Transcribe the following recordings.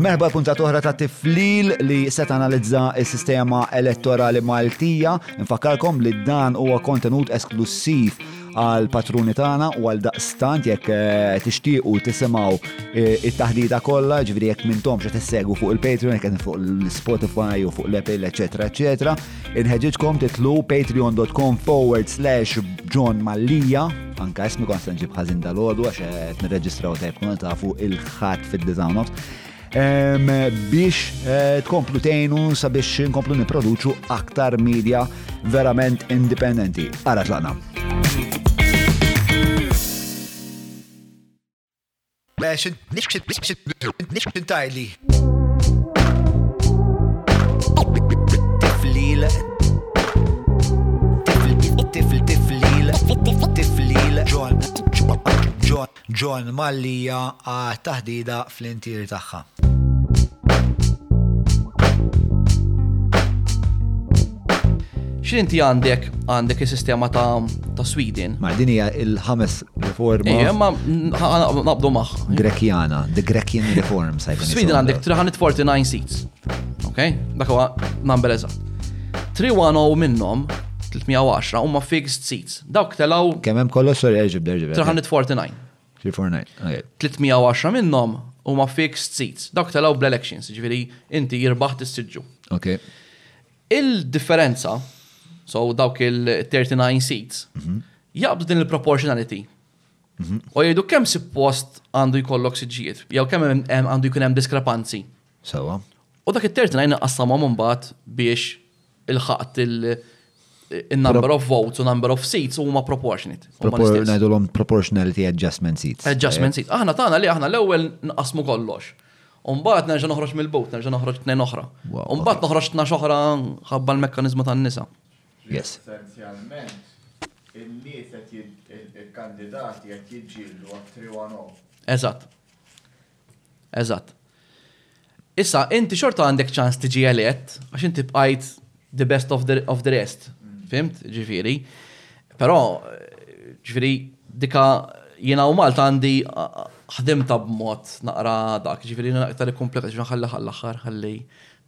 Merba punta toħra ta' tiflil li set analizza il-sistema elettorali Maltija. Infakkarkom li dan huwa kontenut esklusiv għal patruni tagħna u għal daqstant jekk eh, tixtiequ tisimgħu eh, it-taħdita kollha, ġifieri jekk mintom xe tissegwu fuq il-Patreon, jekk fuq l-Spotify u fuq l-Apple, eċetera, eċetera. Inħeġġitkom titlu patreon.com forward slash John Mallija anka ismi konstan ġib ħazin dal-ħodu għax qed nirreġistraw tajb kun tafu il-ħadd fid-design ops. Em, biex eh, tkomplu tejnu sabiex nkomplu niproduċu aktar media verament indipendenti. Ara tlaqna. Tajli. Tiflil. Tifl- Tifl tiflil. Tiflil. John. John. John Mallija għat taħdida fl-intir tagħha. X'inti għandek għandek is-sistema ta' ta' Sweden. Ma din hija il-ħames Ejja, reforma ma n- ħa- ħa- naqbdu maħ. Grekjana, the Grekian reform sajkun. Sweden għandek 349 seats. Ok? Dak huwa number eżatt. 310 minnhom 310 huma fixed seats. Dawk telaw Kemm hemm kollox sorry erġib derġib. 349. 349. Okay. 310 minnhom huma fixed seats. Dawk telaw bl-elections, ġifieri inti jirbaħ tissiġġu. Okay. Il-differenza, so dawk il-39 seats, jaqbdu din il-proportionality. U jgħidu kemm suppost għandu jkollok siġijiet, jew kemm hemm- hemm għandu jkun hemm diskrepanzi. Sawa. U dak il-39 qassamhom imbagħad biex il-ħaqt il- il-number of votes u number of seats huma proportionate. huma Propor l-istess. ngħidulhom proportionality adjustment seats. Adjustment seat. Aħna tagħna li aħna l-ewwel nqasmu kollox. Umbagħad nerġa' noħroġ mill-bot, nerġa' noħroġ tnejn oħra. Wow, Umbagħad noħroġ tna oħra ħabba l-mekkaniżmu tan-nisa. Yes. Essenzjalment, il-nies qed jid- il- il-kandidati qed jiġġieldu għat 310. Eżatt. Eżatt. Issa, inti xorta għandek ċans tiġi għaliet, għax inti bqajt the best of the, of the rest. Fimt, ġifiri. Pero, eh, ġifiri, dika jena u Malta għandi ah, ħdimta b'mod naqra dak, ġifiri jena iktar kompleta, ġifiri ħalli ħall-axar, ħalli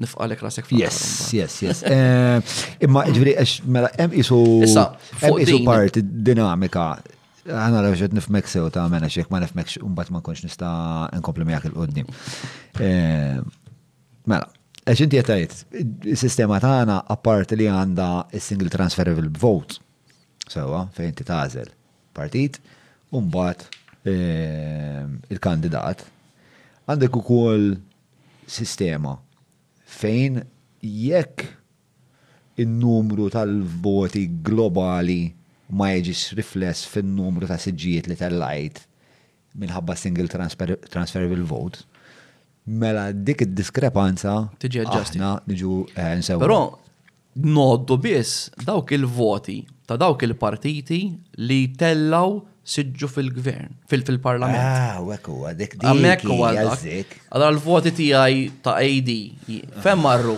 nifqalek rasek fl-aħħar mbagħad. Eh, Yes, yes, yes. Eh, Imma ġviri, għax mela, hemm isu. Issa, fuq Hemm isu din- parti dinamika. Għana la ġed nifmek sew ta' għamena xek ma nifmek umbat ma nkunx nista nkompli miegħek il-qoddim. Eh, Mela, għax inti jtajt, il-sistema tagħna apparti li għandha il-single transferable vote. Sewa, fejn inti tażel partit, umbat il-kandidat. Għandek ukoll sistema fejn jekk il-numru tal-voti globali ma jiġix rifless fin-numru ta' siġijiet li tal-lajt minħabba single transfer transferable vote, mela dik id-diskrepanza Tiġi adjusted. aħna niġu eh, nsewu. Però noddu biss dawk il-voti ta' dawk il-partiti li tellaw siġġu fil-gvern, fil- fil-parlament. ah, wek huwa dik Għamek dik u hija għaldak. zik. Għadar l-voti tijaj ta' AD. Fem marru.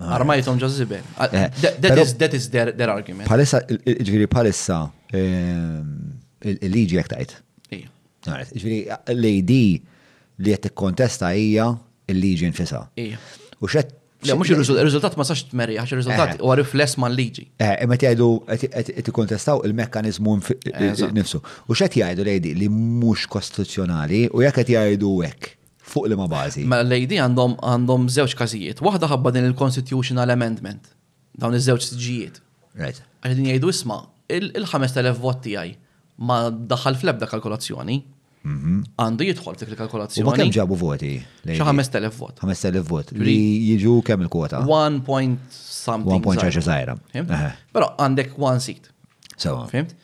Armajtom ġazzibe. Ah. Eh, Ah, That pero- is, that is their, their argument. Palissa, il- il- ġviri palissa, ehm, il- il-liġi jek tajt. Ija. Għaret, Ġviri, l-AD li jett kontesta hija il-liġi nfisa. Ija. U xed. Le, mux il-rizultat ma sax t-merri, għax il-rizultat Eh. u għarif less ma liġi. Eh, imma jgħidu qed ikkontestaw il-mekkaniżmu nf- Eżatt. nifsu. U x'qed jgħidu lejdi li mhux kostituzzjonali u jekk qed jgħidu hekk fuq li ma bażi. Ma l-AD għandhom għandhom zewċ kazijiet. Waħda ħabba din il-Constitutional Amendment. Dawn iż-żewġ siġijiet. Right. Għal din jgħidu isma, il-5000 vot tijaj ma daħal fl-ebda kalkolazzjoni. Għandu jidħol f'dik Mhm. U ma kemm il-kalkolazzjoni. ġabu voti? lady? Xi 5000 vot. 5000 vot. Li jiġu kemm il-kwota? 1 point something. 1 Ah. point zaħir. ċaċa zaħira. Fimt? Eħe, Pero għandek one seat, Sewa. fimt?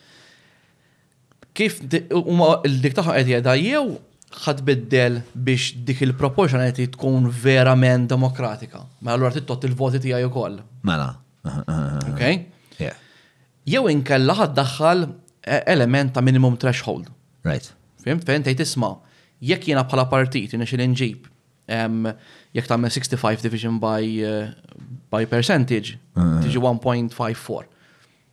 Kif di- huma il-dik taħħa qed jgħidha jew ħad biddel biex dik il-proportionality tkun verament demokratika. Ma allura tittot il-voti tiegħi ukoll, Mela. Aha, aha, aha. ok? Yeah. Jew inkella ħad daħħal eh, element ta' minimum threshold. Right. Fimt? Fejn tgħid isma' jekk jiena bħala partit jiena xil inġib em, jekk tagħmel 65 division by eh, by percentage tiġi 1.54.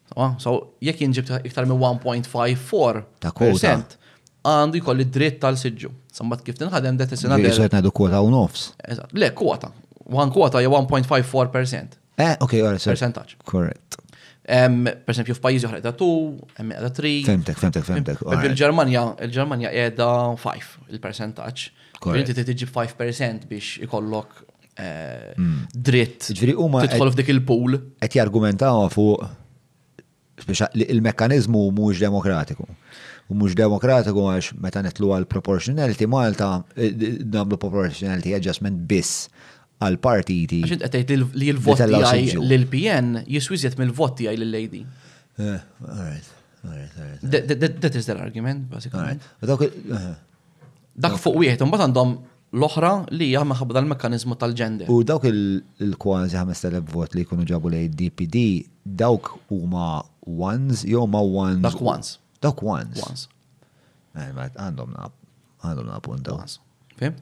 Tama? So jekk jinġib ta- iktar minn 1.54 Ta' quota. percent, għandu jkolli dritt tal-sidġu. Sambat kif tinħadem det is Ġiri, another. xed najdu kwota u nofs. Eżatt, Le, kwota. One kwota jew 1.54%. Eh, ok, għara, sir. Percentage. Correct. Em, Per esempio, f'pajjiżi oħra qiegħda 2, hemm qiegħda 3. Femtek, femtek, femtek. all right. Il-Ġermanja, il-Ġermanja qiegħda 5 il-percentaġġ. Correct. Inti trid tiġi 5% biex ikollok eh, dritt Mm. Ġifieri huma qed- tidħol f'dik il-pool. qed jargumentaw fuq speċa- li il-mekkanizmu mhux demokratiku. U mhux demokratiku għax meta netlu għal proportionality Malta eh, d- nagħmlu proportionality adjustment biss għal partiti. Għaxin għetajt li l-voti Nitellaw għaj xinġu. l-PN jiswizjet mill-voti għaj l-lady. Eh, all right, all right, all right, That that- that is their argument, all right. basikament. U dawk il- eh, Dak fuq wieħed, un għandhom l-oħra li hija maħabba dal-mekkanizmu tal-ġender. U dawk il- il-kważi 5,000 vot li jkunu ġabu lej DPD, dawk huma ones jew ma ones. Dak ones. Dawk ones. Once. Eh, ma Għandhom na għandhom na punta. Once. Fim?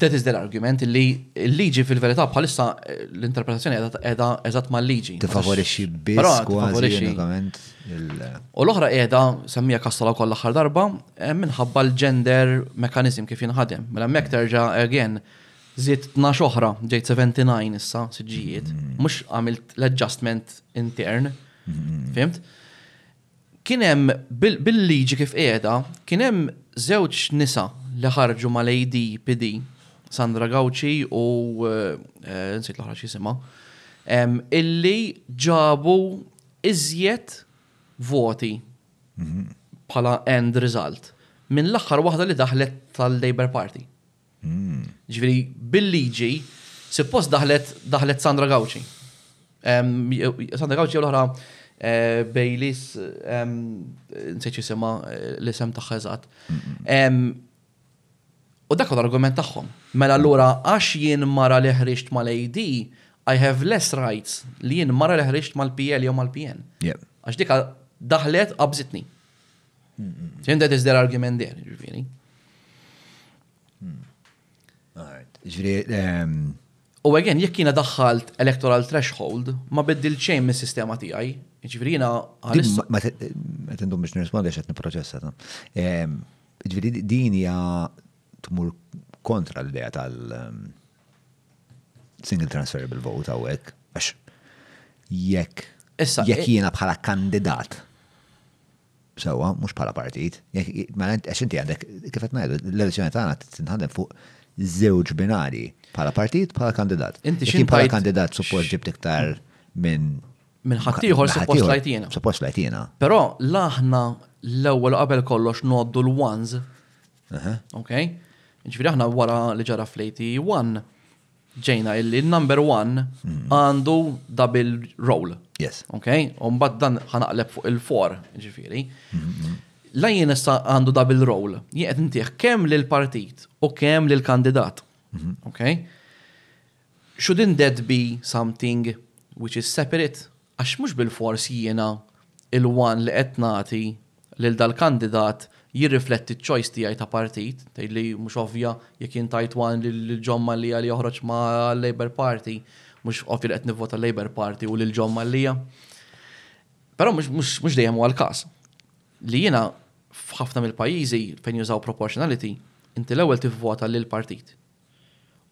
That is their argument li l-liġi fil-verità bħalissa eh, l-interpretazzjoni edha eżatt ma liġi Tifavorixxi biss kważi unikament il- U l-oħra qiegħda semmija kassala wkoll l-aħħar darba eh, minħabba l-gender mechanism kif jinħadem. Mm. Mela hemmhekk terġa' again żied 12 oħra ġejt 79 issa siġġijiet, Mm. mhux għamilt l-adjustment intern. Mm. Fimt? Kien hemm bil- bil-liġi kif qiegħda, kien hemm żewġ nisa li ħarġu mal ADPD, Sandra Gawci u eh, nsit l-oħra x'jisimha, em, illi ġabu iżjed voti bħala end result minn l-axħar waħda li daħlet tal-Labor Party. Ġviri, bil-liġi, suppost daħlet, daħlet Sandra Gawci. Em, jew- Sandra Gawci jew l-ħra eh, Bejlis, em, nsejt jisima eh, l-isem taħħa eżatt. Em, U dak huwa l-argument tagħhom. Mela allura għax jien mara li ħriġt mal-AD, I have less rights li jien mara li ħriġt mal-PL jew mal-PN Yeah. għax dika daħlet qabżitni. Ġen that is their argument there, ġifiri. Alright. Ġviri, ehm, U għagħen, jekk jina daħħalt electoral threshold, ma biddil xejn mis sistema tijaj, ġifiri jina din ma- għalissa. ma te- ma tendum biex nirrispondi għax qed nipproċessa. ta. Ehm, Ġviri, di- din hija tmur kontra l-idea tal- ehm, single transferable vote għawek. Għax jekk Issa, jekk eh- jiena bħala kandidat sewa, mhux bħala partit, jekk ma int- għax inti għandek kif qed ngħidu l-elezzjoni tagħna tinħadem fuq żewġ binari bħala partit bħala kandidat. Inti Jekk xin jien bħala tajt- kandidat suppost ġibt iktar minn Minn ħaddieħor minn suppost ħaddieħor, lajt jiena. Suppost lajt jiena. Pero laħna l-ewwel qabel kollox noddu l-ones. Ok? Ġifiri aħna wara li ġara fl-81 ġejna il-number one għandu double roll. Yes. Ok? Umbat dan ħanaqleb fuq il-for, ġifiri. La jien issa għandu double role. Jien qed intih kemm lil partit u kemm lil kandidat. Ok? Shouldn't that be something which is separate? Għax mhux bil-fors jiena il-wan li qed nagħti lil dal-kandidat jirrifletti ċ-choice tiegħi ta' partit, tgħid li mhux ovvja jekk jien tajt wan lil ġomma li li joħroġ ma' Labour Party, mhux ovvja li qed nivvota Labour Party u lil ġomma li Pero mux, mux, mux dejjem huwa l-każ. Li jiena f'ħafna mill-pajjiżi fejn jużaw proportionality, inti l-ewwel tivvota lil partit.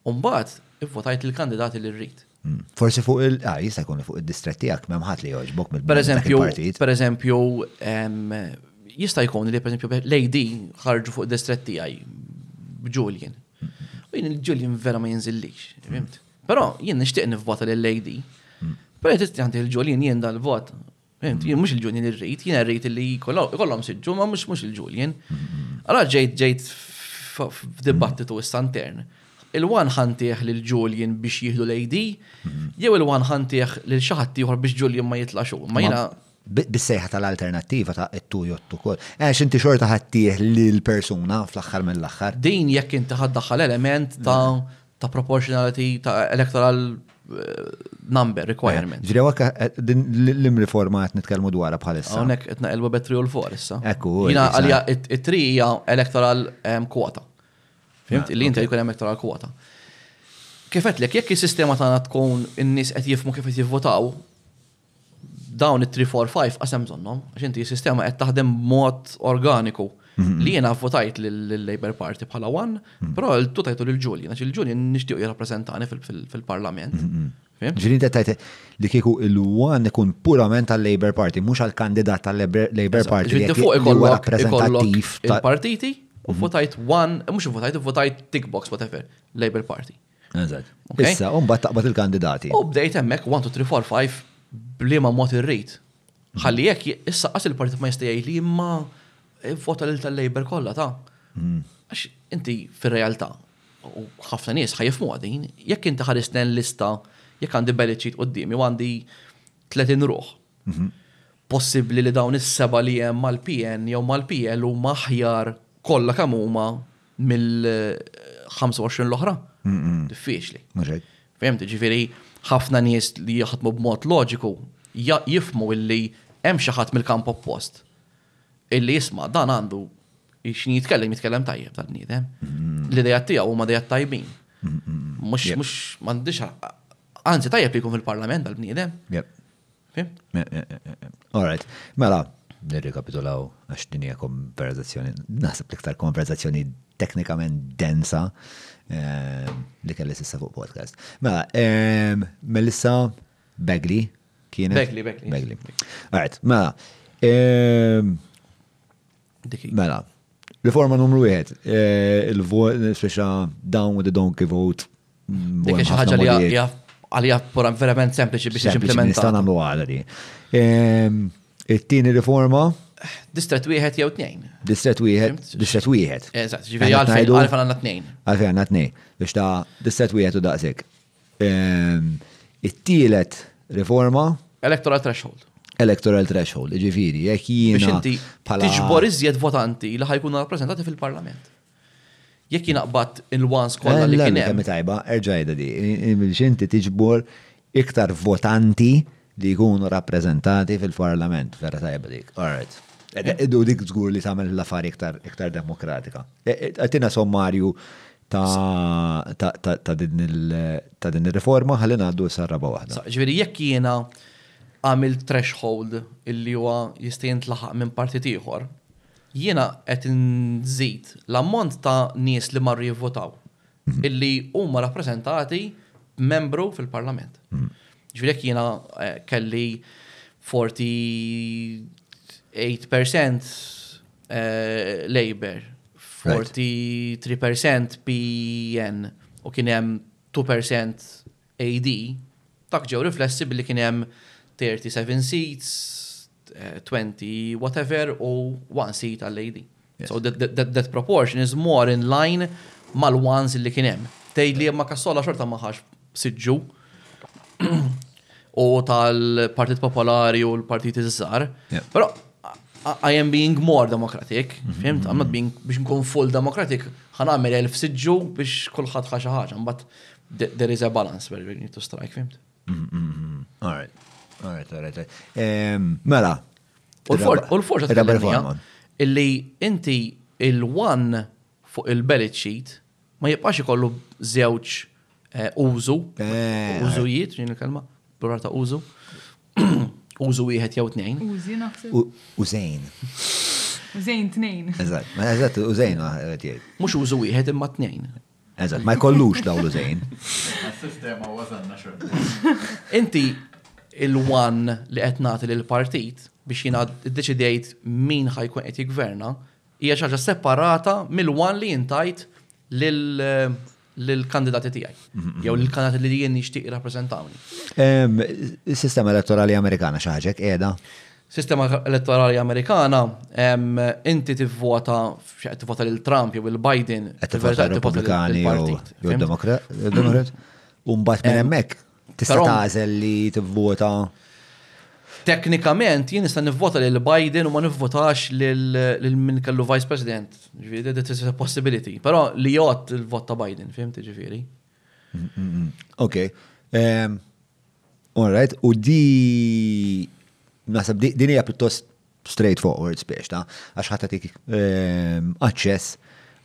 Umbagħad ivvotajt lil kandidati li rrid. Mm. Forsi fuq il- ah, jista' jkun li fuq id-distret tiegħek m'hemm ħadd li jogħġbok mill Per eżempju, partit. per eżempju, em, jista' jkun li per eżempju l-AD ħarġu fuq id-distrett tiegħi Julian. U jien il-Julian vera ma jinżillix, fimt? Però jien nixtieq nivvota lil AD. Però jtisti għandi il-Julian jien dal-vot. Fimt? Jien mhux il-Julian irrid, jien irrid li jkollhom ikollhom siġġu, ma mhux mhux il-Julian. Allora ġejt ġejt f- f- f'dibattitu issa intern. Il-wan ħantieħ lil Julian biex jieħdu l-AD, jew il-wan ħantieħ lil xi ħadd ieħor biex Julian ma jitlaxu. Ma jiena bi- Bissejħa tal-alternattiva ta' it-tu jottu kol. Għax inti xorta ħattieħ lil persuna fl-axħar mill-axħar. din jekk inti ħaddaħħal element ta' ta' proportionality ta' electoral eh, number requirement. Ġri għakka Eh, din l-imri format nitkelmu dwar bħalissa. Għonek etna il web 3 u l-4 issa. Ekku, Jina issa. għalija it-3 hija electoral em, kwota. Fimt, Ah, li jinta jkun hemm electoral kwota. Kifet lek, jekk il-sistema tagħna tkun in-nies qed jifmu kif qed jivvotaw, dawn it-3, 4, 5 qasem żonnhom, għax inti s-sistema qed taħdem mod organiku. Mhm. Li jena votajt l-Labor Party bħala wan, però l-tu tajtu l-Ġulji, naċi l-Ġulji nishtiq jirrapprezentani fil- fil- fil-parlament. Mhm. Fimt? Ġirin tajt li kieku il-wan ikun purament tal-Labor Party, mux għal-kandidat tal-Labor Party. Ġivinti jekk fuq li huwa ikollok rappresentativ ikollok ta' Mhm. il-partiti u votajt wan, mux votajt, votajt tickbox, whatever, Labor Party. Eżatt. Ok. Oh. Issa, umbat taqbad il-kandidati. U bdejt hemmhekk 1, 2, 3, 4, 5 bliema mod irrid. Ħalli jekk issa qas il-partit ma jista' jgħid li imma vota lil tal-Labor kollha ta'. Għax inti fir-realtà u ħafna nies ħajfmu għadin, jekk inti ħaristen lista, jekk għandi belli ċit qudiemi u għandi 30 ruħ. Possibbli li dawn is-seba li hemm mal-PN jew mal-PL u maħjar kollha kemm huma mill-25 l-oħra. Diffiċli. Mhux hekk. Fehmt, ġifiri, ħafna nies li jaħdmu b'mod loġiku ja- jifmu illi hemm xi ħadd mill-kamp oppost. Illi jisma' dan għandu x'in jitkellem jitkellem tajjeb dan niedem. L-idejat tiegħu huma dejat tajbin. Mhux Mm-hmm. Yep. mhux m'għandix ħa- anzi tajjeb li jkun fil-parlament dal-bniedem. Yep. Fimt? Yeah, yeah, yeah, yeah. All right. Mela, nirrikapitulaw għax din hija konverzazzjoni, naħseb l-iktar konverzazzjoni teknikament densa em, li kelli s'issa fuq podcast. Mela, em, Melissa Begley kienet. Begley, Begley. Begley. All right, mela. em, Dik hi. Mela, riforma numru 1, il-vot, speċa down with the donkey vote. mm, u Dik hi hemm xi ħafna ħaġa li modijiet. għalija għalija pura verament sempliċi biex Sempliċi, Nista' implementa. nagħmlu għala di. Em, It-tieni riforma, Distret wieħed jew tnejn. distret wieħed, Fimt? distret wieħed. Eżatt, ġifieri Għandna għalfejn tnajdu- għalfejn għandna tnejn. Għalfejn għandna tnej, biex ta' distret wieħed u daqsik. Em, It-tielet riforma, Electoral threshold. electoral threshold, ġifiri, jek biex jiena inti bħala- tiġbor iżjed votanti li ħajkunu rappresentati fil-parlament. Jekk jinaqbad il-wans kollha li Kolla kien hemm. Eh, tajba, erġajda di, biex inti tiġbor iktar votanti li jkunu rappresentati fil-parlament, vera tajba dik. Alright. Eh. Iddu dik zgur li tagħmel l-affari iktar, iktar demokratika. Għatina sommarju ta' ta' ta' ta' din il- ta' din il-reforma ħallin għaddu s-sarraba waħda. Sa- Ġifieri jekk jiena għamil threshold illi huwa jista' jintlaħaq minn partit ieħor, jiena qed nżid l-ammont ta' nies li marru jivvotaw illi huma rappreżentati membru fil-parlament. Ġifieri jekk jiena eh, kelli 48% eh, Labour, 43% PN E u kien hemm 2% AD, tak ġew riflessi billi kien hemm 37 seats, eh, 20 whatever u one seat għall lady. Yes. So that, that, that, that proportion is more in line mal-ones li kien hemm. Tej li ma kassola xorta ma ħax siġġu u tal-Partit Popolari u l-Partit iż-żar. Yeah. Mhm, Però I- I am being more democratic, fimt? I'm not being biex nkun full democratic, ħan għamil elf siġġu biex kulħadd ħaxa ħaġa, mbagħad th- there is a balance where we need to strike, fimt? Alright. Alright, alright. alright. Em, Mela. U l-for- u l-forġa Il-raba tal-reforma. riforma. Illi inti il-one fuq il-bellet sheet ma jibqax ikollu zewċ użu. Eh, Użujiet, ġin il-kelma, plural ta' użu. Użu wieħed jew tnejn. Użi naħseb. U- Użejn. Użejn tnejn. Eżatt, ma eżatt, użejn għed jgħid. Mhux użu wieħed imma tnejn. Eżatt, ma jkollux daw l-użejn. Sistema wasanna xorta. Inti il-one li qed nagħti lil partit biex jiena ddeċidejt min ħajkun qed jigverna hija xi ħaġa separata mill-one li intajt lil lill-kandidati Mhm. tiegħi jew lill-kandidati li jien nixtieq jirrappreżentawni. Em, Il-sistema elettorali amerikana xaħġek edha. Sistema elettorali Amerikana em, inti tivvota f'xi qed tivvota lil Trump jew il Biden Qed fil-verità tifata qed tivvota lil- Republikani jew lill-partit, jew fimt? Demokra- Demokrat. Um, Umbat minn hemmhekk tista' però- tagħżel li tivvota. Teknikament jien nista' nivvota lil Biden u ma nivvotax lil lil min kellu Vice President. Ġifieri that is a possibility. Però li jgħod il-vot ta' Biden, fimti ġifieri. Ok. Em, All right, u di nasab di din hija pjuttost straightforward spiex ta' għax ħadd tagħtik aċċess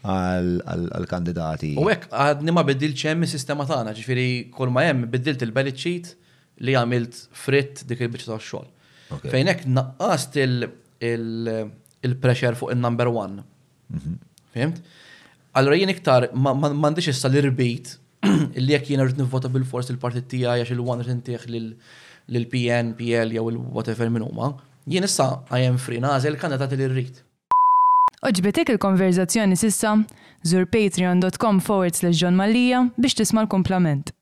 għal-kandidati. U hekk għadni ma biddilx hemm is-sistema tagħna, ġifieri kull ma hemm biddilt il-bellet sheet li għamilt fritt dik il-biċċa tax-xogħol. Ok. Fejn hekk naqqast il- il- il-pressure fuq il-number one Fimt? Allora jien iktar ma- ma- m'għandix issa l-irbit li jekk jien rrid nivvota bil-fors il-partit tiegħi għax il-1 tieħ lill-PN, PL jew il-whatever minn huma. Jien issa I am free nażel kandidat li rrid. Oġbetek il-konverzazzjoni sissa, zur patreon.com forward slash John Malija biex tisma l-komplament.